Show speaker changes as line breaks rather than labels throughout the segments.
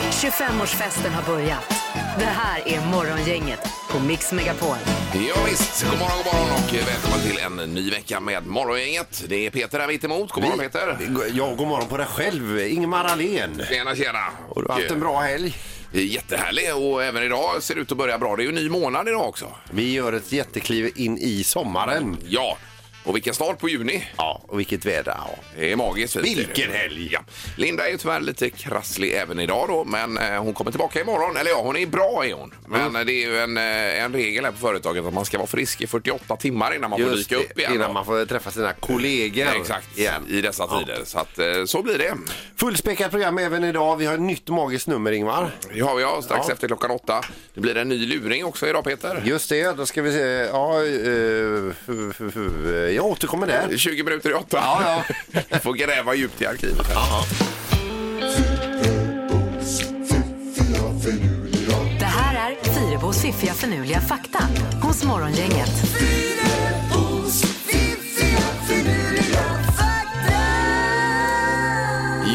25-årsfesten har börjat. Det här är Morgongänget på Mix Megapol.
Ja, visst, god morgon, god morgon och välkommen till en ny vecka med Morgongänget. Det är Peter här mittemot. God morgon Peter!
Ja, god morgon på dig själv, Ingemar Ahlén.
Tjena, tjena!
Har du haft en bra helg?
Eh, Jättehärlig och även idag ser det ut att börja bra. Det är ju en ny månad idag också.
Vi gör ett jättekliv in i sommaren.
Ja, och vilken start på juni!
Ja, och vilket väder. Ja.
Det är magiskt. fint.
Vilken helg!
Ja. Linda är ju tyvärr lite krasslig även idag då, men eh, hon kommer tillbaka imorgon. Eller ja, hon är bra är hon. Men
Mm.
eh, det är ju en, eh, en regel här på företaget att man ska vara frisk i 48 timmar innan man får
Just
dyka upp igen.
innan
då.
man får träffa sina kollegor
Exakt,
igen.
i dessa tider. Så att, eh, så blir det.
Fullspäckat program även idag. Vi har ett nytt magiskt nummer, Ingmar.
Det har vi ja, strax
Ja.
efter klockan åtta. Det blir en ny luring också idag Peter.
Just det, då ska vi se. Ja, eh, fu- fu- fu- jag återkommer där.
20 minuter i åtta.
Ja,
ja. Får gräva djupt i arkivet. här.
Det här är Fyrabos fiffiga förnuliga fakta hos Morgongänget.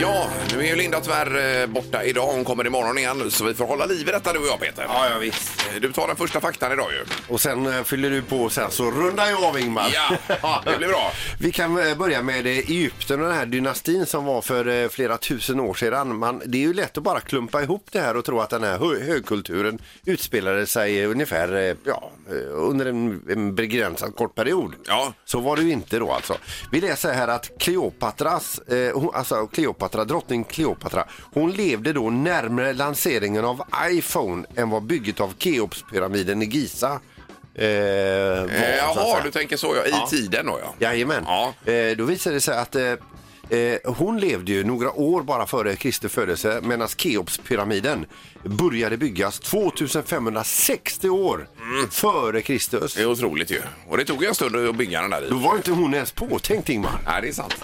Ja, nu är ju Linda tyvärr eh, borta idag. Hon kommer imorgon igen. Så vi får hålla liv i detta du och jag Peter. Eh,
Ja, ja, visst.
Du tar den första faktan idag ju.
Och sen eh, fyller du på och sen så rundar jag av Ingmar.
Ja, det blir bra.
Vi kan eh, börja med eh, Egypten och den här dynastin som var för eh, flera tusen år sedan. Man, det är ju lätt att bara klumpa ihop det här och tro att den här hö- högkulturen utspelade sig eh, ungefär eh, ja, eh, under en, en begränsad kort period.
Ja.
Så var det ju inte då alltså. Vi läser här att Kleopatras, eh, hon, alltså Kleopatra, drottning Kleopatra, hon levde då närmare lanseringen av iPhone än vad bygget av Keopspyramiden i Giza eh, var. så
Eh,
att
Jaha,
säga.
du tänker så ja. I tiden då ja.
Jajamän.
Ja.
Eh, då visade det sig att eh, eh, hon levde ju några år bara före Kristi födelse medan Keopspyramiden började byggas 2560 år
Mm.
före Kristus.
Det är otroligt ju. Och det tog ju en stund att bygga den där i.
Då var inte hon ens påtänkt Ingmar.
Nej, det är sant.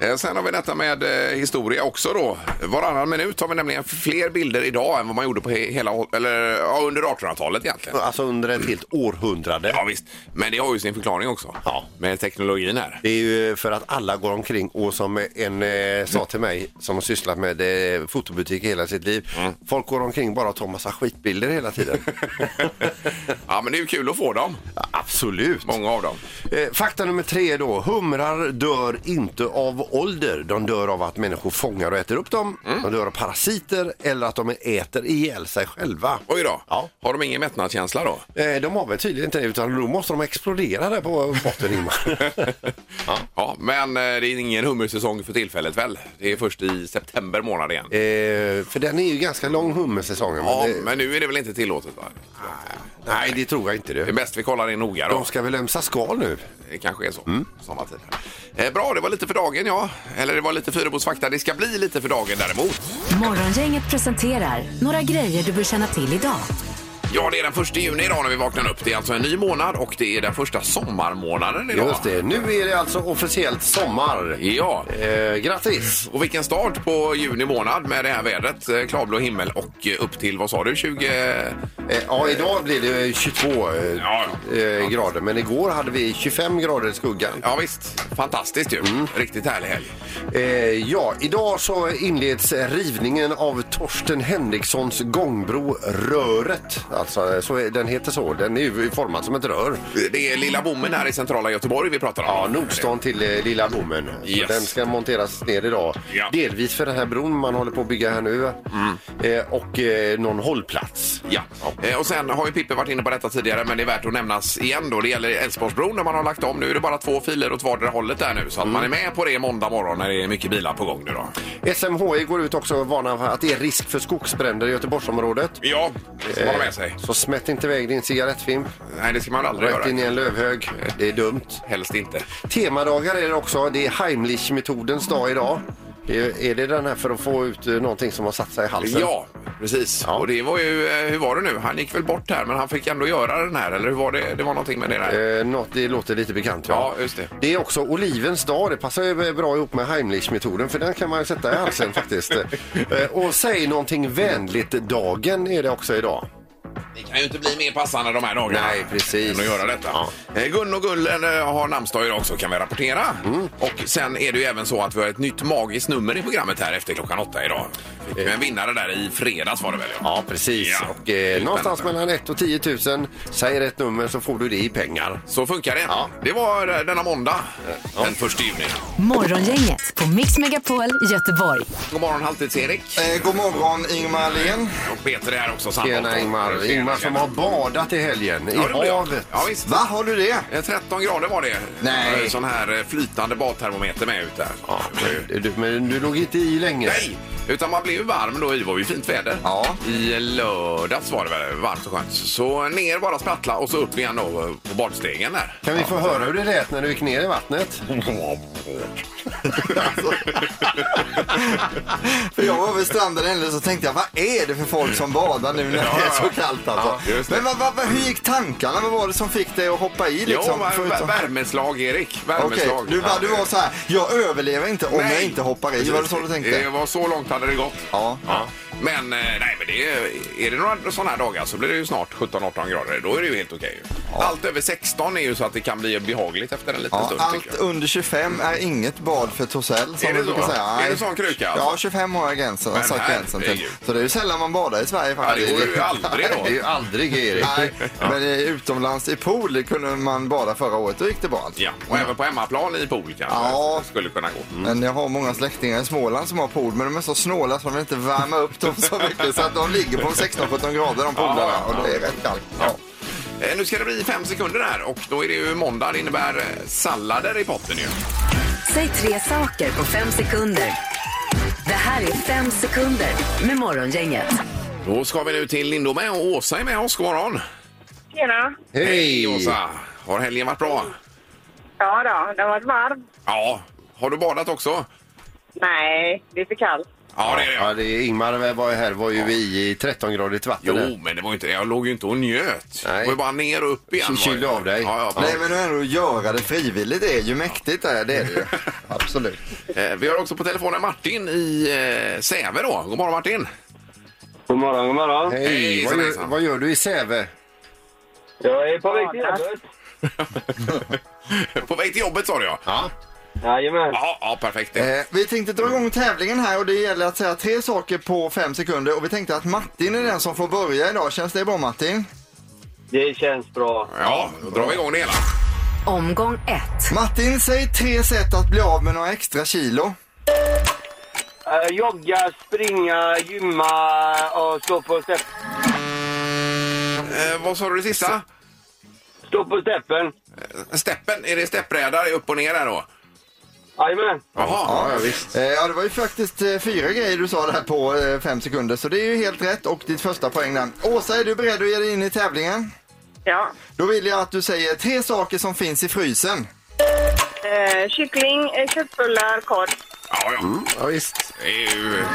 Eh, Sen har vi detta med eh, historia också då. Varannan minut har vi nämligen fler bilder idag än vad man gjorde på he- hela, eller, ja, under 1800-talet egentligen.
Alltså under ett helt århundrade.
Ja, visst. Men det har ju sin förklaring också.
Ja.
Med teknologin här.
Det är ju för att alla går omkring och som en eh, sa till mig som har sysslat med eh, fotobutik hela sitt liv.
Mm.
Folk går omkring bara och tar massa skitbilder hela tiden.
Ja, men det är ju kul att få dem.
Absolut.
Många av dem.
Eh, Fakta nummer tre då. Humrar dör inte av ålder. De dör av att människor fångar och äter upp dem.
Mm.
De dör av parasiter eller att de äter ihjäl sig själva.
Oj då.
Ja.
Har de ingen mättnadskänsla då?
Eh, De har väl tydligen inte det utan då måste de explodera där på botten Ingmar.
Ja. men eh, det är ingen hummersäsong för tillfället väl? Det är först i september månad igen.
Eh, för den är ju ganska lång hummersäsongen.
Ja,
men det,
men nu är det väl inte tillåtet va?
nej, det tror jag inte
Det är
du.
bäst vi kollar in noga då.
De ska väl ömsa skal nu?
Det kanske är så.
Mm.
Samma tid. Eh, bra, det var lite för dagen ja. Eller det var lite Fyrebos fakta. Det ska bli lite för dagen däremot.
Morgongänget presenterar några grejer du bör känna till idag.
Ja, det är den första juni idag när vi vaknar upp. Det är alltså en ny månad och det är den första sommarmånaden idag.
Just det, nu är det alltså officiellt sommar.
Ja.
Eh, grattis!
Och vilken start på juni månad med det här vädret. Eh, Klarblå himmel och eh, upp till, vad sa du, 20...
Eh, Ja, idag blir det eh, 22 eh,
Ja.
eh, grader, men igår hade vi 25 grader i skuggan.
Ja visst, fantastiskt ju.
Mm.
Riktigt härlig helg.
Eh, ja, idag så inleds rivningen av Torsten Henrikssons gångbro Röret. Alltså, eh, så är, den heter så. Den är ju formad som ett rör.
Det är lilla bommen här i centrala Göteborg vi pratar om.
Ja, Nordstan till eh, Lilla Bommen. Så
Yes.
Den ska monteras ner idag.
Ja. Mm.
Delvis för den här bron man håller på att bygga här nu. Eh, och eh, någon hållplats.
Ja. Eh, Och sen har ju Pippe varit inne på detta tidigare men det är värt att nämnas igen då. Det gäller Älvsborgsbron där man har lagt om. Nu är det bara två filer åt vardera hållet där nu så att man är med på det måndag morgon när det är mycket bilar på gång nu då.
SMHI E går ut också och varnar för att det är risk för skogsbränder i Göteborgsområdet.
Ja, det ska man ha med sig.
Så smätt inte iväg din cigarettfimp
Eh, Nej, det ska man aldrig
rätt in i
göra.
en lövhög. Det är dumt.
Helst inte.
Temadagar är det också. Det är Heimlich-metodens dag idag. Är är det den här för att få ut eh, någonting som har satt sig i halsen?
Alltså. Ja, precis.
Ja.
Och det var ju, eh, hur var det nu? Han gick väl bort här men han fick ändå göra den här eller hur var det? Det var någonting med det där.
Eh, något, det låter lite bekant.
Ja, just det.
det är också olivens dag. Det passar ju bra ihop med Heimlich-metoden för den kan man ju sätta i halsen faktiskt. Eh, och säg någonting vänligt-dagen är det också idag.
Det kan ju inte bli mer passande de här dagarna.
Nej, precis.
Än att göra detta.
Ja.
Eh, Gun och Gullen eh, har namnsdag idag också kan vi rapportera.
Mm.
Och sen är det ju även så att vi har ett nytt magiskt nummer i programmet här efter klockan åtta idag. Fick ju en vinnare där i fredags var det väl?
Eh. Ja, precis.
Ja.
Och, eh, någonstans mellan 1 och 10 000. Säg rätt nummer så får du det i pengar.
Så funkar det.
Ja.
Det var eh, denna måndag den 1 juni.
Morgongänget på Mix Megapol Göteborg.
God morgon Halvtids-Erik.
Eh, god morgon Ingmar Ahlén.
Och Peter är här också. samma
Eh. Tjena
åtta.
Ingmar. Ingmar som har badat i helgen i
Ja, det var det.
havet.
Ja, visst.
Va, har du det?
Eh, 13 grader var det.
Nej.
Eh, Sån här eh, flytande badtermometer med ut där.
Ja, men, du, men du låg inte i länge.
Nej, utan man blev ju varm då. Det var ju fint väder.
Ja.
I lördags var det väl varmt och skönt. Så ner bara sprattla och så upp igen då på badstegen där.
Kan vi få höra hur det lät när du gick ner i vattnet?
För jag var vid stranden ändå så tänkte jag, vad är det för folk som badar nu när det är så kallt alltså?
Ja, just det.
Men vad, vad, vad, hur gick tankarna? Vad var det som fick dig att hoppa i
Jo,
liksom?
vär-
förutom-
värmeslag Erik.
Okej,
Värmeslag.
du, du var så här, jag överlever inte om jag inte hoppar i. Var det så du
Det
tänkte?
var så långt hade det gått.
Ja.
Men, eh, nej, men det är, är det några sådana här dagar så blir det ju snart 17-18 grader. Då är det ju helt okej. ju. Allt över 16 är ju så att det kan bli behagligt efter en liten
Ja,
stund.
allt
tycker jag.
under 25 är inget bad för Tosell som
Är det
vi brukar
så?
säga.
Är
Nej.
det sån kruka, alltså?
Ja, 25 har jag gränsen, har
Men
satt gränsen till.
herregud.
Så det är ju sällan man badar i Sverige
Ja, det
faktiskt.
går ju aldrig då.
Det är ju aldrig Erik.
Nej, men eh, utomlands i pool kunde man bada förra året. Då gick det bra alltså.
Ja, och även på hemmaplan i pool kanske
Ja.
skulle kunna gå.
Mm. Men jag har många släktingar i Småland som har pool, men de är så snåla så de vill inte värma upp dem så mycket så att de ligger på 16-17 grader de
Ja,
poolarna
ja,
och det är rätt kallt. Ja.
Eh, Nu ska det bli fem sekunder här och då är det ju måndag. Det innebär eh, sallader i potten ju.
Säg tre saker på fem sekunder. Det här är fem sekunder med Morgongänget.
Då ska vi nu till Lindome och Åsa är med oss. God morgon!
Tjena.
Hej!
Åsa! Har helgen varit bra?
Ja då, det har varit varmt.
Ja. Har du badat också?
Nej, det är för kallt.
Ja, det är det.
Ja, det är Ingmar eh, var ju här var ju vi i 13-gradigt vatten.
Jo, men det var ju inte det. Jag låg ju inte och njöt.
Nej.
Det var ju bara ner och upp igen.
Så
var det.
kylde av dig.
Ja, ja,
Nej men ändå att göra det frivilligt är ju mäktigt det, är det är det ju. Absolut.
Eh, Vi har också på telefonen Martin i eh, Säve då. God morgon Martin!
God morgon, god morgon.
Hej!
Hejsan,
vad, gör,
hejsan.
vad gör du i Säve?
Jag är på väg till
Ja,
jobbet.
på väg till jobbet sa du ja.
Ja.
Jajamän.
Ja, ja perfekt. det.
Eh, vi tänkte dra igång tävlingen här och det gäller att säga tre saker på fem sekunder och vi tänkte att Martin är den som får börja idag. Känns det bra Martin?
Det känns bra.
Ja, då drar vi igång det hela.
Omgång ett.
Martin, säg tre sätt att bli av med några extra kilo.
Eh, jogga, springa, gymma och stå på, stepp,
Eh, vad sa du det sista?
stå på steppen.
Steppen, är det steppbrädar upp och ner här då?
Jajamän.
Jaha.
ja, visst.
Eh, ja, det var ju faktiskt eh, fyra grejer du sa där på eh, fem sekunder, så det är ju helt rätt och ditt första poäng där. Åsa, är du beredd att ge dig in i tävlingen?
Ja.
Då vill jag att du säger tre saker som finns i frysen.
Eh, kyckling, eh, köttbullar, korv.
Ja, ja.
Ja, visst.
Det är ju mm,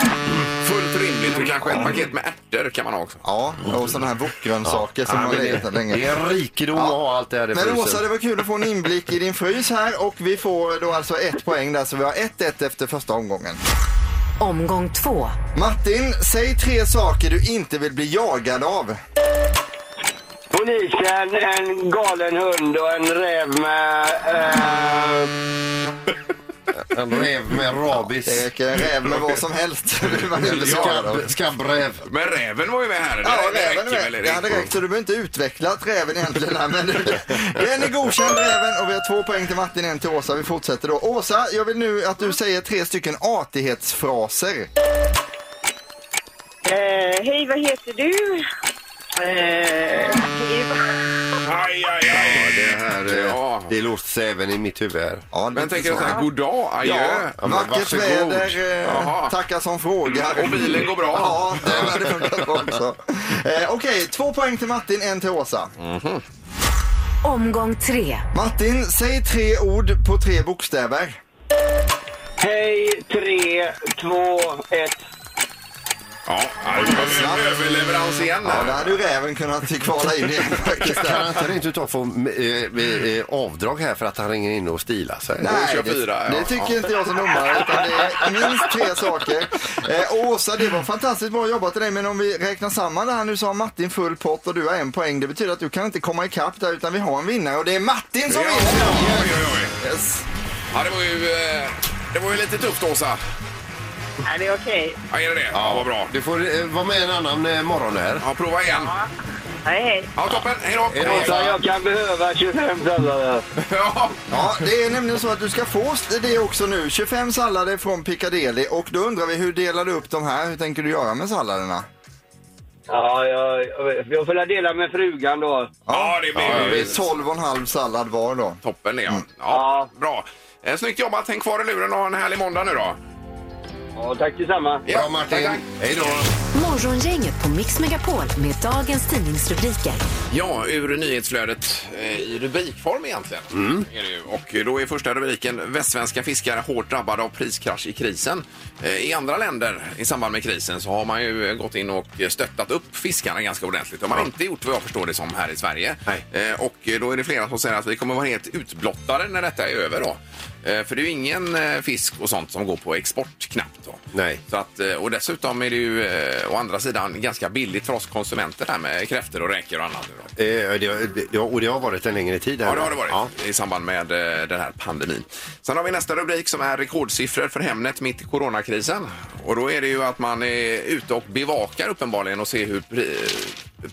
fullt rimligt och kanske ett paket med ärtor kan man ha också.
Ja, och sådana här
Mm.
wokgrönsaker som har legat där
Det
länge.
är en rikedom att ha allt det här i
Men Åsa,
frysen.
det var kul att få en inblick i din frys här och vi får då alltså ett poäng där, så vi har 1-1 efter första omgången.
Omgång två.
Martin, säg tre saker du inte vill bli jagad av.
Polisen, en galen hund och en räv med... eh,
En räv med
Det
rabies.
räcker en räv med vad som helst. vill man inte bli jagad av.
Skabb, skabbräv.
Men räven var ju med här. Det,
Ja,
det
räven
räcker väl,
är
Erik?
Det hade räckt, så du behöver inte utveckla räven egentligen. Här, men den är godkänd räven och vi har två poäng till Martin, en till Åsa. Vi fortsätter då. Åsa, jag vill nu att du säger tre stycken artighetsfraser.
Eh, hej, vad heter du? Eh, hej.
Aj, aj, aj.
Det här, eh,
Ja.
det låter även i mitt huvud här.
Ja,
Men tänker du så här, god dag, adjö.
Ja,
men
vackert
varsågod.
väder,
Jaha.
eh, tackar som frågar.
Och bilen går bra.
Ja, det hade funkat bra också. Eh, Okej, två poäng till Martin, en till Åsa.
Omgång tre.
Martin, säg tre ord på tre bokstäver.
hej, tre, två, ett.
Ja, ja, det var en överleverans igen
Ja, där
här.
hade ju räven kunnat kvala in igen faktiskt.
Kan
Där.
han kan inte ta få eh, eh, avdrag här för att han ringer in och stilar sig?
Och kör
det,
fyra, ja.
det tycker inte jag som domare. Utan det är minst tre saker. Eh, och Åsa, det var fantastiskt bra jobbat till dig. Men om vi räknar samman det här nu så har Martin full pott och du har en poäng. Det betyder att du kan inte komma ikapp där utan vi har en vinnare och det är Martin som
Ja,
vinner.
oj, oj, oj.
Yes.
Ja, det var ju... eh, Det var ju lite tufft, Åsa.
Nej, det är okej.
Ja, är det det? Ja, vad bra.
Du får eh, vara med en annan eh, morgon här.
Ja, prova igen.
Hej, hej.
Ja, toppen. Hej då.
Hej då, Åsa.
Jag kan behöva 25 sallader.
Ja,
Ja, det är nämligen så att du ska få det också nu. 25 sallader från Piccadilly och då undrar vi hur delar du upp de här? Hur tänker du göra med salladerna?
Ja, jag, jag- jag får väl dela med frugan då.
ja det
Det
blir
blir
ju
12,5 sallad var då.
toppen det. Ja. Ja, bra. Eh, Snyggt jobbat. Häng kvar i luren och ha en härlig måndag nu då.
Ja, tack detsamma.
Ja,
Bra Martin.
tack, tack.
Hej då.
Morgongänget på Mix Megapol med dagens tidningsrubriker.
Ja, ur nyhetsflödet eh, i rubrikform egentligen. Är det ju. Och då är första rubriken Västsvenska fiskare hårt drabbade av priskrasch i krisen. Eh, I andra länder i samband med krisen så har man ju eh, gått in och stöttat upp fiskarna ganska ordentligt. Det har man inte gjort vad jag förstår det som här i Sverige.
Nej.
Eh, Och då är det flera som säger att vi kommer vara helt utblottade när detta är över då. Eh, För det är ju ingen eh, fisk och sånt som går på export knappt då.
Nej.
Så att, eh, och dessutom är det ju eh, å andra sidan ganska billigt för oss konsumenter där med kräftor och räkor och annat. nu Då.
Eh, det, det, det- och det har varit en längre tid. Här.
Ja, det har det varit
Ja.
i samband med eh, den här pandemin. Sen har vi nästa rubrik som är rekordsiffror för Hemnet mitt i coronakrisen. Och då är det ju att man är ute och bevakar uppenbarligen och ser hur pri-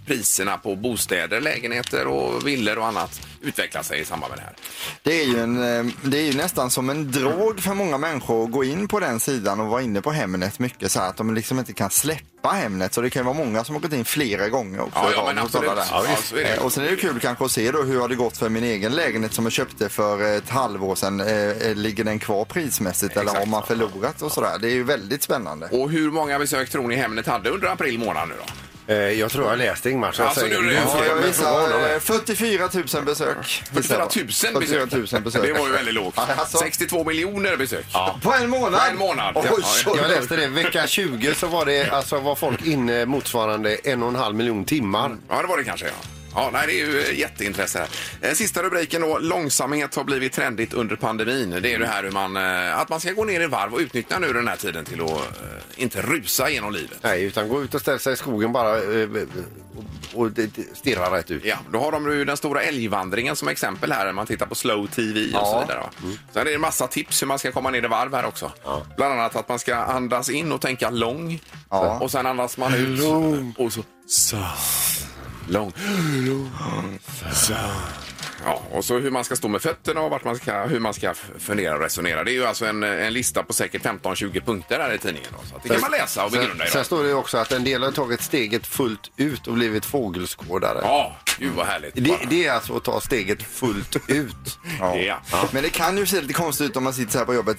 priserna på bostäder, lägenheter och villor och annat utvecklar sig i samband med det här.
Det är, ju en, eh, det är ju nästan som en drog för många människor att gå in på den sidan och vara inne på Hemnet mycket så här att de liksom inte kan släppa Hemnet. Så det kan ju vara många som har gått in flera gånger också.
Ja,
i
ja,
rad
men
och sådana
absolut.
där.
Ja, visst. Ja, så är det.
Eh, Och sen är det ju kul kanske att se då hur har det gått för min egen lägenhet som jag köpte för ett halvår sedan. Eh, eh, Ligger den kvar prismässigt eller har
Exakt.
man förlorat och sådär. Det är ju väldigt spännande.
Och hur många besök tror ni Hemnet hade under april månad nu då?
Eh, jag tror jag läste Ingmar. så jag
Alltså,
säger-
nu är det-
Ja, jag
Men fråga honom
visar
här.
eh, 44 000 besök.
44 000 besök.
44 000 besök.
Det var ju väldigt lågt.
Alltså.
62 miljoner besök. Ja.
På en månad?
På en månad.
Oj,
Ja,
oj,
ja.
oj.
Jag läste det. Vecka 20 så var, det, alltså, var folk inne motsvarande en och en halv miljon timmar.
Ja, det var det kanske. Ja. Ja, nej, det är ju eh, jätteintresse här. Eh, Sista rubriken då. Långsamhet har blivit trendigt under pandemin. Det är ju det här hur man, eh, att man ska gå ner i varv och utnyttja nu den här tiden till att eh, inte rusa genom livet.
Nej, utan gå ut och ställa sig i skogen bara eh, och, och det- det- stirra rätt ut.
Ja, då har de ju den stora älgvandringen som exempel här, när man tittar på slow TV och så
Ja.
vidare. va. Sen är det en massa tips hur man ska komma ner i varv här också. Bland annat att man ska andas in och tänka lång.
Ja.
Och sen andas man ut. Och så så. Lång. Så. Ja, och så hur man ska stå med fötterna och vart man ska, hur man ska f- fundera och resonera. Det är ju alltså en, en lista på säkert 15-20 punkter här i tidningen. Då, så att det kan man läsa och begrunda
Sen,
idag.
sen står det ju också att en del har tagit steget fullt ut och blivit fågelskådare.
Ja, gud vad härligt.
Det, det är alltså att ta steget fullt ut.
Ja.
Ja.
Men det kan ju se lite konstigt ut om man sitter så här på jobbet.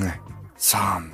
Långsamt.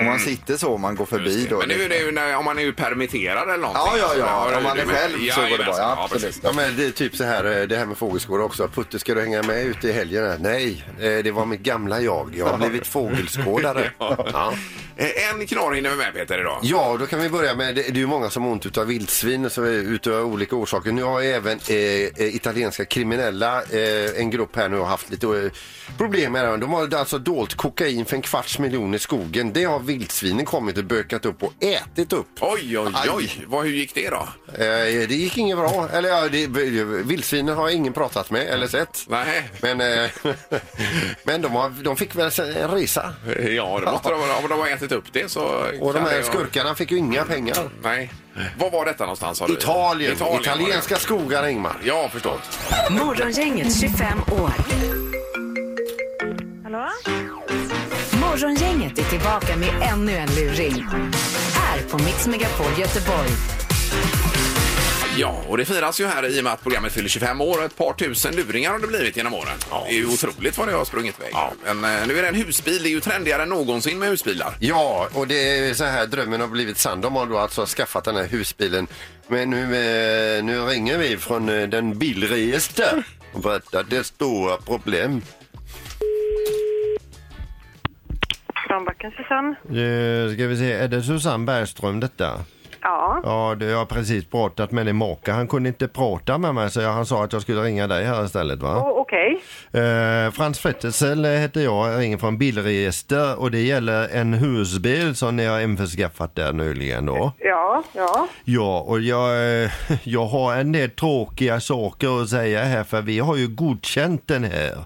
Om man sitter så och man går förbi då.
Men nu är Mm. det ju när, om man är ju permitterad eller någonting.
Ja, ja, ja.
det
Om man är
det.
själv så går det bra.
jajamensan.
Ja, absolut.
precis.
Ja, men det är typ så här, eh, det här med fågelskådare också. Putte, ska du hänga med ut i helgen? här? Nej, eh, det var mitt gamla jag. Jag har blivit fågelskådare. Ja.
Eh, En knorr hinner vi med Peter idag.
Ja, då kan vi börja med, det det är ju många som har ont utav vildsvin så eh, utav olika orsaker. Nu har ju även eh, eh, italienska kriminella, eh, en grupp här nu, har haft lite eh, problem med det. här. De har alltså dolt kokain för en kvarts miljon i skogen. Det har vildsvinen kommit och bökat upp och ätit upp.
Oj, oj, oj. Vad, hur gick det då?
Eh, det gick inget bra. Eller ja, det, vildsvinen har ingen pratat med eller sett.
Nej.
Men, eh, men de, har, de fick väl en resa.
Ja, det måste de, om de har ätit upp det så...
Och de
kan
här
det-
skurkarna fick ju inga pengar.
Nej. Var var detta någonstans? sa du?
Italien,
var det.
italienska skogar Ingmar.
Ja, förstått.
Morgongänget 25 år.
Hallå?
Morgongänget är tillbaka med ännu en luring. Här på Mix Megapol Göteborg.
Ja, och det firas ju här i och med att programmet fyller 25 år och ett par tusen luringar har det blivit genom åren. Det är ju otroligt vad det har sprungit iväg. Men eh, nu är det en husbil. Det är ju trendigare än någonsin med husbilar.
Ja, och det är så här drömmen har blivit sann. De har då alltså skaffat den här husbilen. Men nu, eh, nu ringer vi från eh, den bilregister och berättar att det är stora problem.
Kvarnbacken, Susanne?
Eh, Ska vi se, är det Susanne Bergström detta?
Ja.
Ja, det, jag har precis pratat med din maka. Han kunde inte prata med mig så jag, han sa att jag skulle ringa dig här istället va?
Oh, Okej.
Eh, Frans Fritzl heter jag, jag ringer från Bilregister och det gäller en husbil som ni har införskaffat där nyligen då.
Ja, ja.
Ja, och jag, eh, jag har en del tråkiga saker att säga här för vi har ju godkänt den här.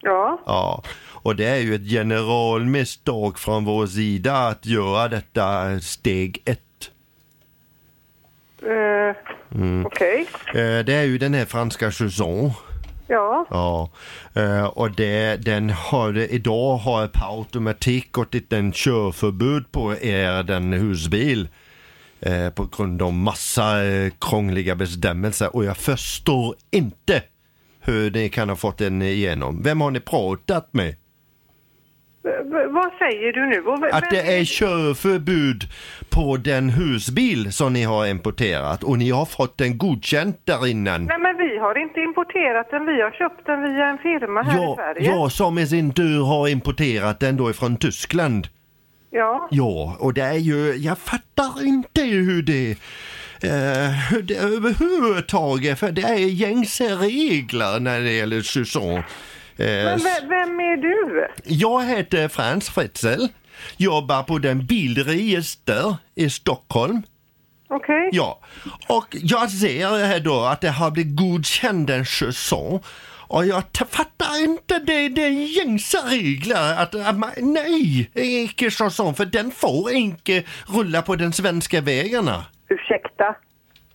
Ja.
Ja, och det är ju ett generalmisstag från vår sida att göra detta steg ett.
Eh, Okej.
Eh, Det är ju den här franska chanson.
Ja.
Ja, eh, och det, den har, idag har per automatik gått ett en körförbud på er den husbil. Eh, på grund av massa eh, krångliga bestämmelser och jag förstår inte hur ni kan ha fått den igenom. Vem har ni pratat med?
V- v- vad säger du nu? Och v-
Att det är körförbud på den husbil som ni har importerat och ni har fått den godkänd där innan.
Nej, men vi har inte importerat den. Vi har köpt den via en firma här i
Ja,
Sverige.
ja, som i sin tur har importerat den då ifrån Tyskland.
ja.
Ja, och det är ju, jag fattar inte hur det, eh, hur det överhuvudtaget, för det är gängse regler när det gäller Susanne. Eh,
Men v- vem är du?
jag heter Frans Fritzl, jobbar på den bilregister i Stockholm.
Okej.
Ja, och jag ser här då att det har blivit godkänd en säsong. Och jag ta- fattar inte, det, det är gängse regler att, att man, nej, inte säsong, för den får inte rulla på den svenska vägarna.
Ursäkta.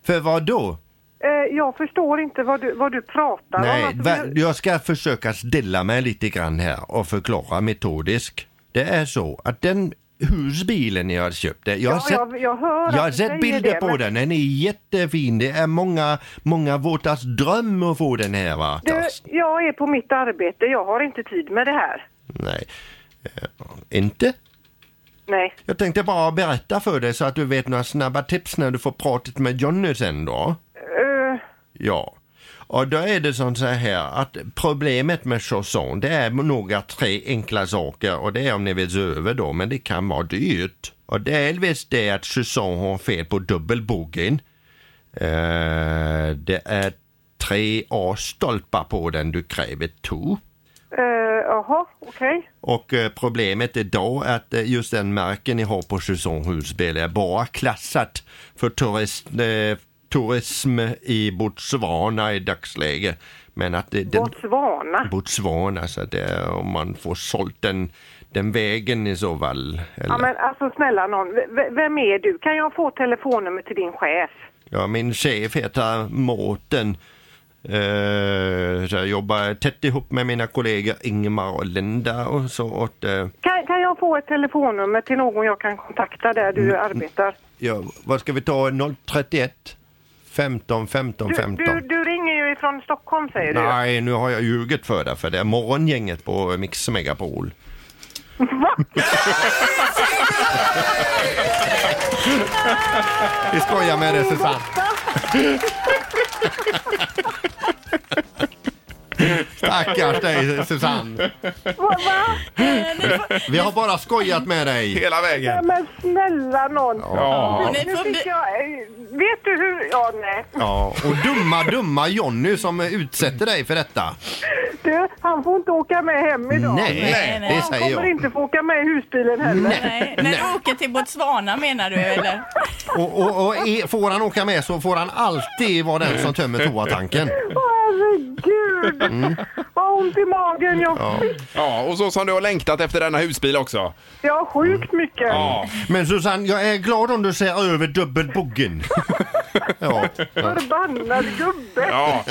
För vad då?
Eh, jag förstår inte vad du, vad du pratar om.
Nej,
Alltså,
va,
vi-
jag ska försöka stilla mig lite grann här och förklara metodiskt. Det är så att den husbilen jag har köpt, det- jag har
Ja,
sett
jag, jag hör att
Jag har
du
sett
säger
bilder
det,
på
men-
den, den är jättefin. Det är många, många vårtas dröm att få den här va?
Du,
Thorsten?
jag är på mitt arbete. Jag har inte tid med det här.
Nej, Eh, inte?
Nej.
Jag tänkte bara berätta för dig så att du vet några snabba tips när du får pratat med Jonny sen då.
Eh,
Ja. Och då är det som så här att problemet med chausson det är några tre enkla saker och det är om ni vill se över då men det kan vara dyrt. Och delvis det är att chausson har fel på dubbelbogen. Eh, det är tre A-stolpar på den du kräver två.
eh, Jaha, okej.
Och eh, problemet idag är att eh, just den märken ni har på Chusson husbil är bara klassat för turism, eh, turism i Botswana i dagsläget. Men att det, den,
Botswana.
Botswana, så att det är om man får sålt den, den vägen i så fall. Eller,
Ja, men alltså snälla någon, v- v- vem är du? Kan jag få telefonnummer till din chef?
ja, min chef heter Mårten. Eh, så jag jobbar tätt ihop med mina kollegor Ingmar och Linda och så åt eh,
Kan, kan jag få ett telefonnummer till någon jag kan kontakta där du
Mm.
arbetar?
Ja, vad ska vi ta? 031 15 15
Du,
15?
du, du ringer ju ifrån Stockholm säger du.
Nej, nu har jag ljugit för dig för det är morgongänget på Mix Megapol. Vi skojar med dig Susanne. Stackars dig Susanne.
Va, va?
Eh, ni, får,
Vi har bara skojat med dig.
Hela
Ja,
vägen.
men snälla någon.
Ja.
ni
Nu
får
fick
bli,
jag, eh, vet du hur, ja nej.
Ja, och dumma, dumma Jonny som utsätter dig för detta.
Du, han får inte åka med hem idag.
Nej,
Nej, nej.
det
Han
säger
kommer
jag.
inte få åka med i husbilen heller.
nej, när du åker till Botswana menar du eller?
Och, och, och är, får han åka med så får han alltid vara den som tömmer toatanken.
Åh, herregud! Vad ont i magen. Jag,
Mm. ja, och så som du har längtat efter denna husbil också.
jag har sjukt mycket.
Mm. Ja.
Men Susanne, jag är glad om du ser över dubbelboggen. ja.
Förbannad gubbe!
ja.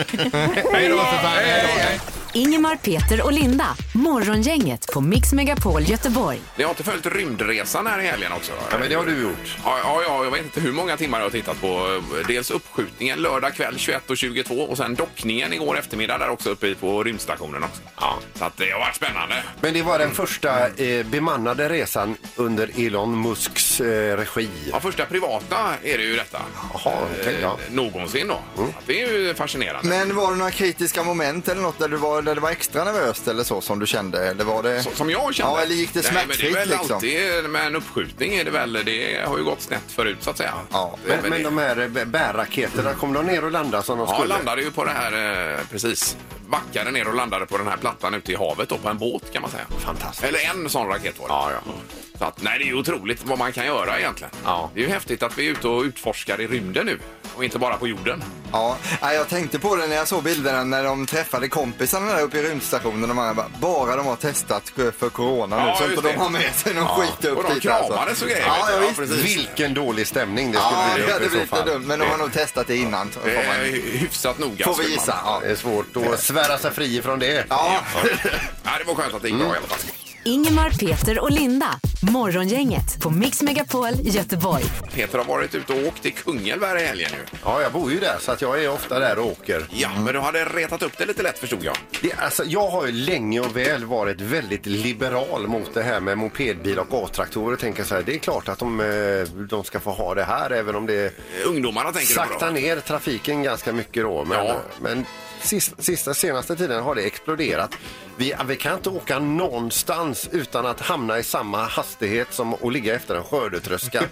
Hej då, Susanne. Hej då.
Ingemar, Peter och Linda. Morgongänget på Mix Megapol Göteborg.
Ni har inte följt rymdresan här i helgen också?
Ja, men det har du gjort.
Ja, ja, ja, jag vet inte hur många timmar jag har tittat på. eh, Dels uppskjutningen lördag kväll 21.22 och sen dockningen igår eftermiddag där också uppe i- på rymdstationen också. Ja. Så att det har varit spännande.
Men det var den första eh, bemannade resan under Elon Musks eh, regi.
Ja, första privata är det ju detta. Eh,
Jaha, okej, ja.
Någonsin då. Att Det är ju fascinerande.
Men var det några kritiska moment eller något där du var var, där det var extra nervöst eller så som du kände? Eller var det...
Så- Som jag kände.
Ja, eller gick det
Nej,
smärtfritt
men det är väl
liksom?
alltid med en uppskjutning är det väl. Det har ju gått snett förut så att säga.
Ja,
Det är
Men,
väl
men
det.
de här eh, bä- bärraketerna, kom de ner och landade som de
Ja,
skulle?
landade ju på det här, eh, precis. Backade ner och landade på den här plattan ute i havet då, på en båt kan man säga.
Fantastiskt.
Eller en sån raket var det.
Ja, ja.
Så att, nej, det är ju otroligt vad man kan göra egentligen.
Ja.
Det är ju häftigt att vi är ute och utforskar i rymden nu och inte bara på jorden.
Ja, nej, jag tänkte på det när jag såg bilderna när de träffade kompisarna där uppe i rymdstationen. De andra bara, bara de har testat för corona nu
Ja,
så
just
inte de
det.
har med sig någon skit upp
och de
dit alltså.
kramades och grejer,
Ja,
vet du.
ja,
Ja,
visst.
precis.
Vilken dålig stämning det skulle
Ja,
bli
det
uppe
hade
i så
blivit
fall.
dumt, men de har nog testat det innan. Får
Det
man,
är hyfsat noga.
får vi
skulle man-
gissa. Ja.
Det är svårt att svära sig fri ifrån det.
Ja.
Ja, det var skönt att det gick bra i alla fall.
Ingemar, Peter och Linda. Morgongänget på Mix Megapol Göteborg.
Peter har varit ute och åkt till Kungälv i helgen nu.
Ja, jag bor ju där så att jag är ofta där och åker.
Ja, men du hade retat upp det lite lätt förstod jag.
Det, alltså, jag har ju länge och väl varit väldigt liberal mot det här med mopedbil och A-traktorer. Jag tänker så här, det är klart att de, eh, de ska få ha det här även om det
Ungdomarna tänker du på
saktar
då?
ner trafiken ganska mycket då. Men,
Ja.
men sista, sista, senaste tiden har det exploderat. Vi, vi kan inte åka någonstans utan att hamna i samma hastighet som att ligga efter en skördetröska.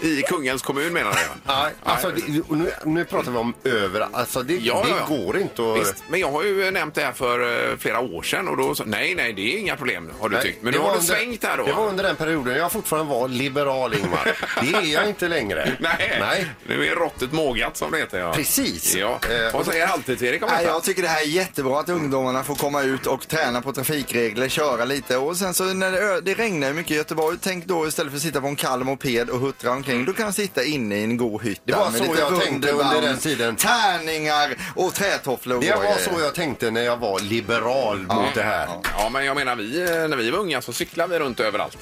I Kungälvs kommun menar jag.
Nej, alltså,
Nej.
det, nu, nu pratar vi om överallt. Alltså, det,
Ja,
det
ja, ja.
går inte att...
Visst, men jag har ju nämnt det här för eh, flera år sedan och då sa nej, nej, det är inga problem har du
Nej,
tyckt. Men
det
nu har
var
du
under-
svängt här då.
Det var under den perioden jag fortfarande var liberal, Ingmar. det är jag inte längre.
Nej.
Nej.
nu är råttet mågat som det heter. Ja.
Precis.
Ja.
Eh,
Vad säger halvtids-Erik om
Nej,
detta?
jag tycker det här är jättebra att ungdomarna får komma ut och träna på trafikregler, köra lite och sen så när det, ö- det regnar ju mycket i Göteborg, tänk då istället för att sitta på en kall moped och huttra omkring, då kan jag sitta inne i en god hytt
Det
där
var
med
så
lite
jag tänkte under
Wunderbaum,
den tiden.
tärningar och trätofflor och
Det
bra
var
grejer.
så jag tänkte när jag var liberal mot det här.
eh, Ja, men jag menar vi, eh, när vi var unga så cyklade vi runt överallt.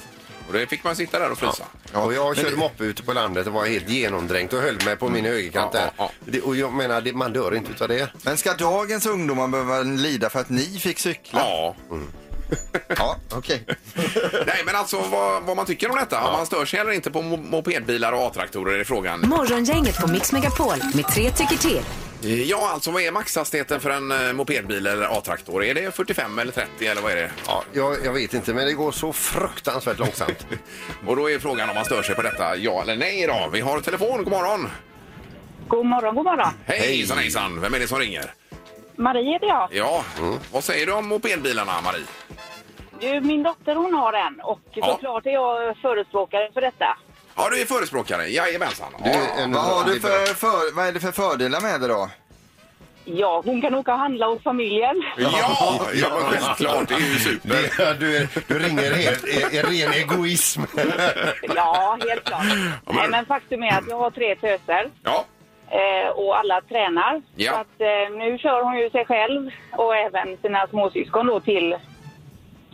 Och det fick man sitta där och frysa.
Och jag körde moppe ute på landet och var helt genomdränkt och höll mig på min högerkant
Mm. Ja,
där.
ja,
Det, och jag menar, det, man dör inte utav det.
Men ska dagens ungdomar behöva lida för att ni fick cykla?
Ja.
Ja, okej.
Nej, men alltså vad, vad man tycker om detta. Om man stör sig eller inte på mo- mopedbilar och A-traktorer är frågan.
Morgongänget på Mix Megapol med tre tycker till.
Ja, alltså vad är maxhastigheten för en eh, mopedbil eller A-traktor? Är det 45 eller 30 eller vad är det?
Ja, jag, jag vet inte, men det går så fruktansvärt långsamt.
Och då är frågan om man stör sig på detta, ja eller nej då. Vi har telefon, god morgon.
God morgon, god morgon.
Hej, hejsan hejsan, vem är det som ringer?
Marie heter jag.
Ja,
Mm.
vad säger du om mopedbilarna Marie?
Du, min dotter hon har en och
Ja.
såklart är jag förespråkare för detta.
Ja, du är förespråkare, jajamensan.
Du
Ja.
är en-
Vad, har du för, för, vad är det för fördelar med det då?
Ja, hon kan åka och handla hos familjen.
Ja, ja men självklart, det är ju super.
Det, du, är- du ringer helt, är, är ren egoism.
Ja, helt klart.
men-
Nej, men faktum är att jag har tre töser
Ja,
eh, och alla tränar.
Ja.
Så att, eh, nu kör hon ju sig själv och även sina småsyskon då till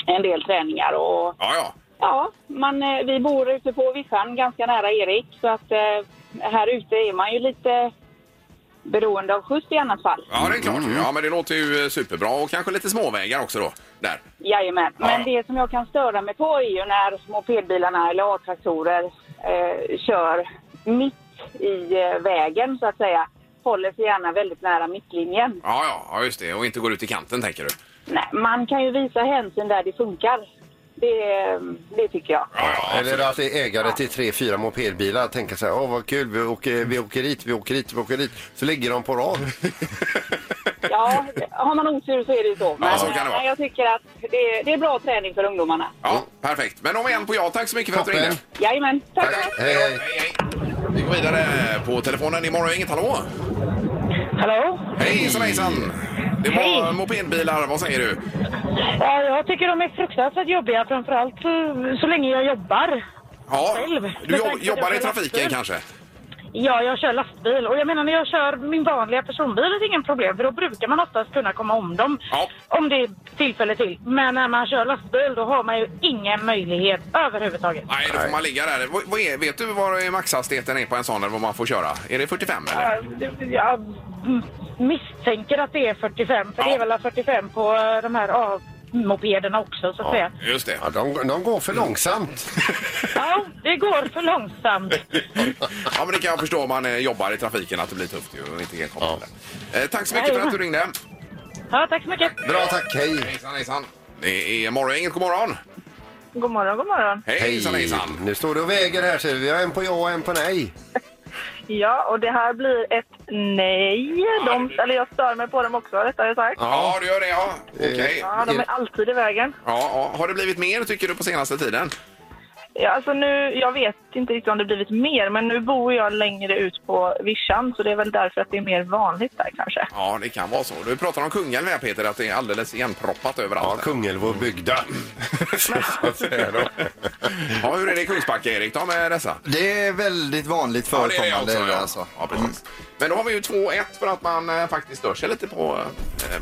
en del träningar. Och,
ja, ja.
ja, man, eh, vi bor ute på Vissan ganska nära Erik så att eh, här ute är man ju lite beroende av skjuts i annat fall.
Ja, det är klart.
Mm.
Ja, men det låter ju eh, superbra och kanske lite småvägar också då. Där.
Jajamän. Men det som jag kan störa mig på är ju när mopedbilarna eller A-traktorer eh, kör mitt i eh, vägen så att säga. Håller sig gärna väldigt nära mittlinjen.
Ja, ja, ja, just det. Och inte går ut i kanten tänker du.
Nej, man kan ju visa hänsyn där det funkar. Det, eh, det tycker jag.
Ja, ja,
Eller att det är ägare till tre, fyra mopedbilar tänker så här, åh vad kul, vi åker, vi åker hit, vi åker hit, vi åker hit. Så lägger de på rad.
Ja, har man otur så är det ju så. Men
så kan det vara.
eh, jag tycker att det, det är bra träning för ungdomarna.
ja, perfekt. Men om igen på ja, tack så mycket för att du
Toppen.
ringde.
Jajamän. Tack.
Tack.
tack.
Hej, hej.
Hej, hej. Vi går vidare på telefonen i morgon. Inget hallå?
Hallå?
Hejsan, hejsan. Det var
Hej.
mopedbilar, vad säger du?
Ja, jag tycker de är fruktansvärt jobbiga, framförallt eh, så, så länge jag jobbar.
Ja,
Själv.
du
Men
jobb,
tack för
jobbar i
det.
trafiken kanske?
Ja, jag kör lastbil. Och jag menar, när jag kör min vanliga personbil är det ingen problem, för då brukar man oftast kunna komma om dem.
Ja.
Om det är tillfälle till. Men när man kör lastbil, då har man ju ingen möjlighet överhuvudtaget.
Nej, då får man ligga där. Vad, vad är, vet du vad är maxhastigheten är på en sån eller vad man får köra? Är det 45 eller?
Jag, jag m- misstänker att det är 45, för
Ja.
det är väl 45 på eh, de här A-mopederna också, så att säga.
Just det.
Ja, de, de går för långsamt.
Ja, det går för långsamt.
Ja, men det kan jag förstå om man eh, jobbar i trafiken att det blir tufft ju och inte helt komma
Ja.
på det. eh, Tack så mycket för att du ringde.
Ja, tack så mycket.
Bra, tack. Hej.
Hejsan, hejsan. Det är morgongänget, god morgon!
God morgon, god morgon.
Hej, hejsan, hejsan!
Nu står du och väger här ser vi. Vi har en på ja och en på nej.
Ja, och det här blir ett nej. De, eller jag stör mig på dem också, rättare sagt.
Ja, du gör det ja. Okej. Ja.
Ja, de är alltid i vägen.
Ja, Har det blivit mer tycker du på senaste tiden?
Ja, alltså nu, jag vet inte riktigt om det blivit mer, men nu bor jag längre ut på vischan så det är väl därför att det är mer vanligt där kanske.
Ja, det kan vara så. Du pratar om Kungälv här Peter, att det är alldeles igenproppat
Ja,
överallt. Ja,
Kungälv och bygda. Så att säga då.
ja, hur är det i Kungsbacka Erik då med dessa?
Det är väldigt vanligt
Ja, det är det
förekommande.
också, ja. Mm.
alltså.
Ja, precis. Men då har vi ju 2-1 för att man eh, faktiskt stör sig lite på eh,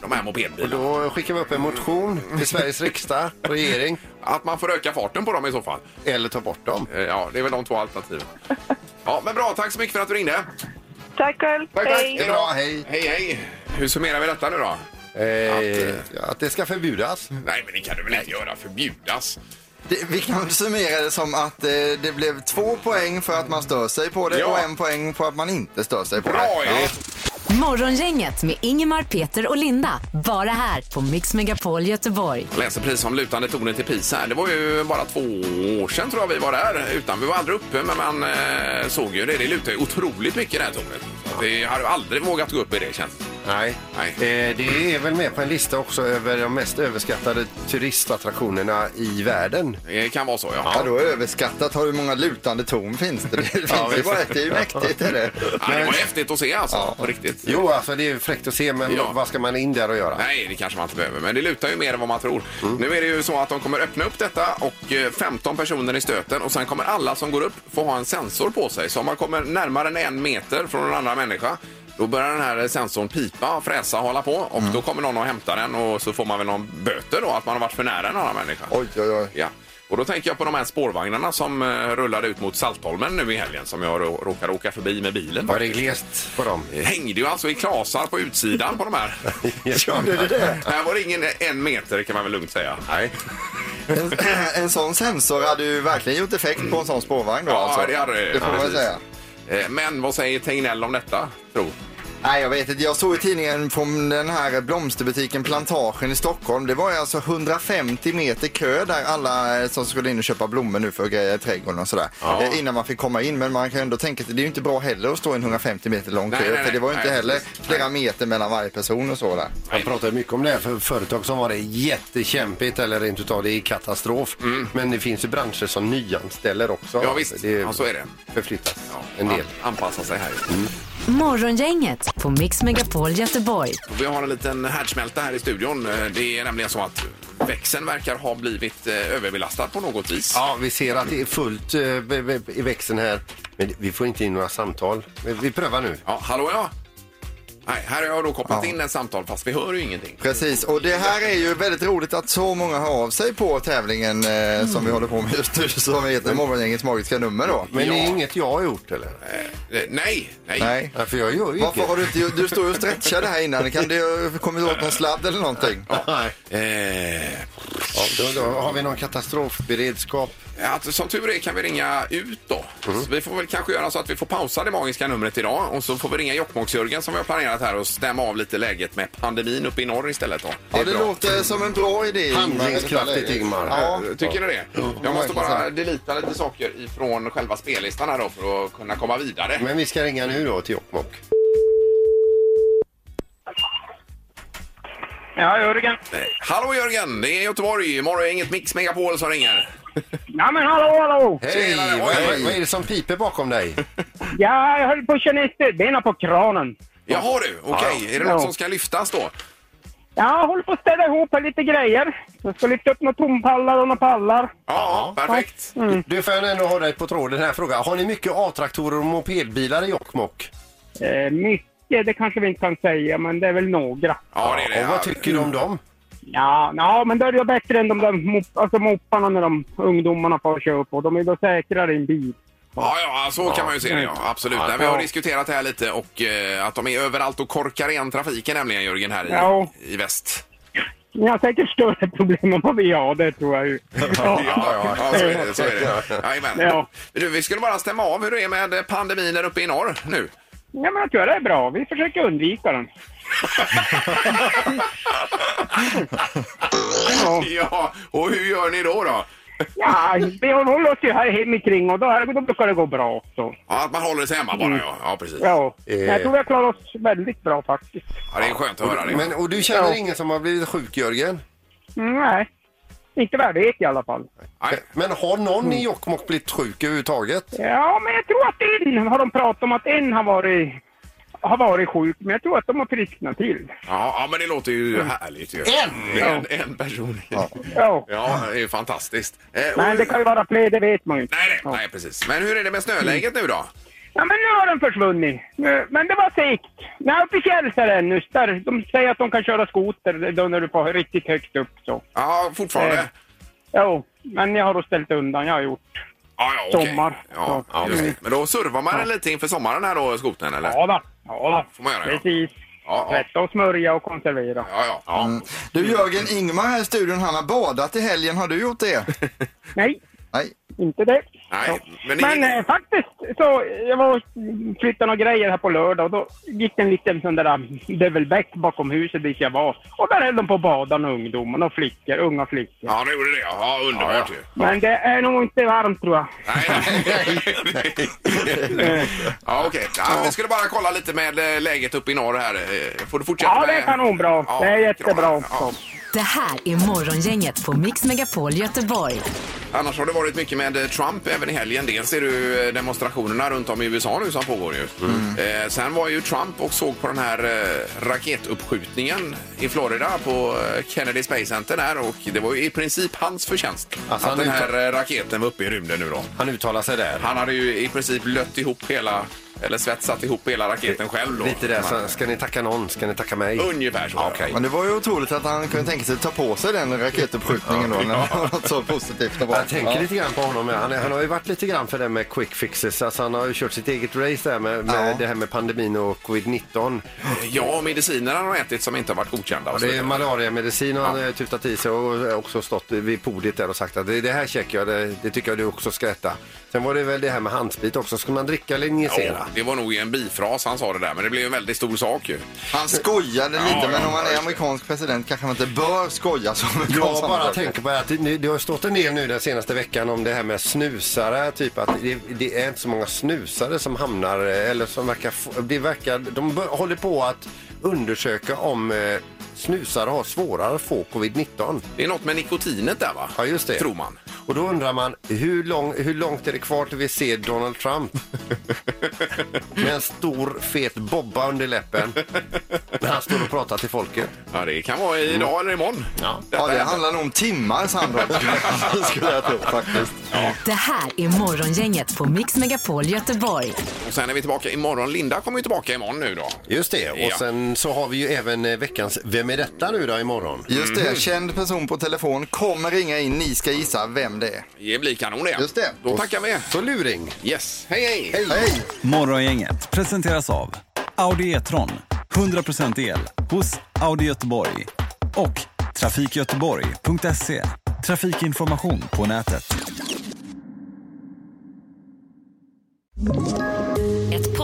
de här mopedbilarna.
Då skickar vi upp en motion till Sveriges riksdag, regering,
Att man får öka farten på dem i så fall.
eller ta bort dem.
Eh, Ja, det är väl de två alternativen. Ja, men bra. Tack så mycket för att du ringde.
Tack själv!
Det är
Bra, hej.
Hej, hej. Hur summerar vi detta nu då?
Eh, att det ska förbjudas.
Nej, men det kan du väl inte göra? Förbjudas?
Det, vi kan summera det som att eh, det blev två poäng för att man stör sig på det
Ja.
och en poäng för att man inte stör sig på
Bra,
det.
ja.
Morgongänget med Ingemar, Peter och Linda. Bara här på Mix Megapol Göteborg.
Läser precis om lutande tonen till Pisa. här. Det var ju bara två år sedan tror jag vi var där. Utan, vi var aldrig uppe, men man eh, såg ju det. Det lutar ju otroligt mycket det här tornet. Så att Vi har aldrig vågat gå upp i det känns det.
Nej.
Nej.
Eh, det är väl med på en lista också över de mest överskattade turistattraktionerna i världen.
Det kan vara så, ja.
Ja, då överskattat har hur många lutande torn finns det? Det, finns det, bara, ett. det är ju mäktigt. Är det?
Nej, det var häftigt att se alltså, på riktigt.
Jo, alltså det är fräckt att se, men
Ja.
vad ska man in där och göra?
Nej, det kanske man inte behöver, men det lutar ju mer än vad man tror. Nu är det ju så att de kommer öppna upp detta och eh, 15 personer i stöten och sen kommer alla som går upp få ha en sensor på sig. Så om man kommer närmare än en meter från en annan människa då börjar den här sensorn pipa, fräsa och hålla på och då kommer någon och hämtar den och så får man väl någon böter då att man har varit för nära en annan människa.
Oj, oj, oj.
Ja. Och då tänker jag på de här spårvagnarna som eh, rullade ut mot Saltholmen nu i helgen som jag rå- råkade åka förbi med bilen.
Var det glest på dem?
hängde ju alltså i klasar på utsidan på de här.
Gjorde det det?
Här var det ingen en meter kan man väl lugnt säga.
Nej.
En, en sån sensor hade ju verkligen gjort effekt på en sån spårvagn då
Ja,
alltså.
det hade det.
Det får
Ja,
man
precis.
säga.
Eh, Men vad säger Tegnell om detta, tro?
Nej, jag vet inte. Jag såg i tidningen från den här blomsterbutiken Plantagen i Stockholm. Det var ju alltså 150 meter kö där alla eh, som skulle in och köpa blommor nu för grejer i trädgården och sådär.
Ja.
Eh, Innan man fick komma in. Men man kan ju ändå tänka att det är ju inte bra heller att stå i en 150 meter lång
Nej,
kö.
nej,
för det var ju
nej,
inte
nej,
heller
precis.
flera meter mellan varje person och så där.
Jag pratade mycket om det här för företag som var det jättekämpigt eller rent utav det är katastrof. Men det finns ju branscher som nyanställer också.
Mm. Ja, visst.
Det
Ja, så är det.
förflyttas en del. Mm.
An- Anpassa sig här.
Morgongänget på Mix Megapol Göteborg.
Och Vi har en liten härdsmälta här i studion. Eh, Det är nämligen så att växeln verkar ha blivit eh, överbelastad på något vis.
Ja, vi ser att det är fullt eh, b- b- i växeln här. Men vi får inte in några samtal. Vi- Vi prövar nu.
Ja, hallå ja! Nej, här har jag då kopplat
Ja.
in ett samtal fast vi hör ju ingenting.
Precis, och det här är ju väldigt roligt att så många hör av sig på tävlingen eh, som vi håller på med just nu som heter Morgongängets magiska nummer då.
Men det är inget jag har gjort eller?
Eh, Nej, nej.
Nej.
Nej, för jag gör ju
Varför
inget.
har du inte gjort- Du står ju och stretchade här innan. Kan det ha kommit åt någon sladd eller någonting?
Nej.
Eh,
Ja, då, då har vi någon katastrofberedskap.
Eh, Att, som tur är kan vi ringa ut då.
Mm.
Så vi får väl kanske göra så att vi får pausa det magiska numret idag och så får vi ringa Jokkmokks-Jörgen som vi har planerat här och stämma av lite läget med pandemin uppe i norr istället då.
Ja, det låter som en bra idé. Ingmar.
Handlingskraftigt Ingmar.
Ja.
Tycker ni det? Jag måste bara delita lite saker ifrån själva spellistan här då för att kunna komma vidare.
Men vi ska ringa nu då till Jokkmokk.
Ja, Jörgen.
Hallå Jörgen, det är Göteborg. Imorgon är inget Mix Megapol som ringer.
Ja, men hallå, hallå!
Hej!
Tjenare,
Vad,
oj,
vad,
oj.
vad är det som piper bakom dig?
Ja, jag höll på att köra ner stödbenen på kranen.
Jaha du, okej. Är det
Ja.
något som ska lyftas då?
Ja, jag håller på att städa ihop här lite grejer. Jag ska lyfta upp några tompallar och några pallar.
Ja, perfekt.
Du får jag ändå ha dig på tråden här frågan. Har ni mycket A-traktorer och mopedbilar i Jokkmokk?
Eh, mycket, det kanske vi inte kan säga, men det är väl några.
Ja, det är det.
Och vad tycker du om dem?
Ja, ja men då är det ju bättre än de där mop- alltså mopparna när de ungdomarna får köra på. De är ju då säkrare i en bil.
Ja, ja, så kan man ju se det. Ja. Absolut. Nej, vi har diskuterat det här lite och eh, att de är överallt och korkar igen trafiken nämligen, Jörgen, här i,
Ja.
i väst.
Ni har säkert större problem än vad vi har, det tror jag ju. Ja.
ja, ja. så är det. Så är det. Jajamän.
Ja.
Du, vi skulle bara stämma av hur det är med pandemin där uppe i norr nu.
Ja, men jag tror det är bra. Vi försöker undvika den. ja,
Ja, och hur gör ni då? då?
ja, vi håller oss ju här hemikring och då, här, då brukar det gå bra också.
Ja, att man håller sig hemma bara, ja. Ja, precis.
Ja,
Eh.
jag tror vi har klarat oss väldigt bra faktiskt.
Ja, det är skönt att höra det.
Men, och du känner ingen som har blivit sjuk, Jörgen?
Mm, nej, inte vad jag vet i alla fall.
Nej.
Men har någon i Jokkmokk blivit sjuk överhuvudtaget?
Ja, men jag tror att en har de pratat om att en har varit, har varit sjuk, men jag tror att de har frisknat till.
Ja, ja, men det låter ju härligt ju. En! En, en person. Ja.
Mm. Ja.
det är ju fantastiskt. Eh, och-
Men det kan ju vara fler, det vet man ju inte.
Nej, nej, nej, precis. Men hur är det med snöläget nu då?
Ja, men nu har den försvunnit. Nu- Men det var segt. Nej, uppe i Fjälls är det ännu. Där, de säger att de kan köra skoter då när du får riktigt högt upp. Så.
Ja, fortfarande?
Eh. Jo, men jag har då ställt undan. Jag har gjort.
Ja, ja, okej.
sommar.
Ja, ja,
Ja.
just det. Men då servar man den lite inför sommaren här då, skotern eller?
Ja, då. Ja,
Får
då.
man göra, ja.
Precis.
Ja, ja.
Tvätta och smörja och konservera.
Ja, ja. ja.
Mm.
Mm.
Du Jörgen, Ingmar här i studion, han har badat i helgen. Har du gjort det?
Nej,
Nej.
inte det.
Nej, men,
Men
ingen-
eh, faktiskt så, jag var och flyttade några grejer här på lördag och då gick det en liten sån där devilbäck bakom huset dit jag var. Och där höll de på att bada med ungdomarna och flickor, unga flickor.
Ja, det gjorde det. Ja, underbart ju.
Men det är nog inte varmt tror jag.
Nej, nej, nej. ja, okej. Ja, vi skulle bara kolla lite med eh, läget uppe i norr här. Eh, Får du fortsätta
Ja, det
med-
är kanonbra.
Ja,
det är jättebra.
kranar. Ja.
Det här är Morgongänget på Mix Megapol Göteborg.
Annars har det varit mycket med eh, Trump även i helgen. Dels är det ju eh, demonstrationerna runt om i USA nu som pågår ju.
Mm.
Eh, sen var ju Trump och såg på den här eh, raketuppskjutningen i Florida på eh, Kennedy Space Center där och det var ju i princip hans förtjänst
Alltså,
att
han
den här eh, raketen var uppe i rymden nu då.
Han uttalar sig där.
Han hade ju i princip lött ihop hela, eller svetsat ihop hela raketen själv då.
Lite där, så, ska ni tacka någon? Ska ni tacka mig?
Ungefär så.
Okej.
Men det var ju otroligt att han kunde tänka sig att ta på sig den raketuppskjutningen då, när det var något så positivt. Det var.
Jag tänker lite grann på honom. Han, är- han har ju varit lite grann för det med quick fixes. Alltså han har ju kört sitt eget race där med, med
Ja.
det här med pandemin och covid-19.
Ja, mediciner han har ätit som inte har varit godkända. och så
Det är
vidare.
malariamedicin och han har tutat i sig och också stått vid podiet där och sagt att det, det här checkar jag, det, det tycker jag du också ska äta. Sen var det väl det här med handsprit också. Ska man dricka eller injicera?
Ja, det var nog en bifras han sa det där, men det blev ju en väldigt stor sak ju.
Han skojade lite,
ja,
men om man
ja.
är amerikansk president kanske man inte bör skoja som amerikansk
Jag bara
samarbete.
tänker på att det, det har stått en del nu den senaste veckan om det här med snusare. Typ att det, det är inte så många snusare som hamnar eh, eller som verkar, få- det verkar de bör- håller på att undersöka om eh, snusare har svårare att få covid-19.
Det är något med nikotinet där va?
Ja, just det.
Tror man.
Och då undrar man hur, lång, hur långt är det kvar till vi ser Donald Trump? med en stor fet bobba under läppen när han står och pratar till folket.
Ja, det kan vara idag eller imorgon. Ja,
Ja, det handlar nog om timmar samtal skulle jag tro faktiskt.
Det här är Morgongänget på Mix Megapol Göteborg.
Och sen är vi tillbaka imorgon. Linda kommer ju tillbaka imorgon nu då.
Just det, och
Ja.
sen så har vi ju även eh, veckans Vem är detta nu då imorgon?
Just det, känd person på telefon kommer ringa in. Ni ska gissa vem det är.
Det blir kanon det.
Just det.
Då tackar vi.
Så luring!
Yes, hej hej!
Hej!
Morgongänget presenteras av Audi E-tron. 100% el hos Audi Göteborg. Och trafikgöteborg.se. Trafikinformation på nätet.
Ett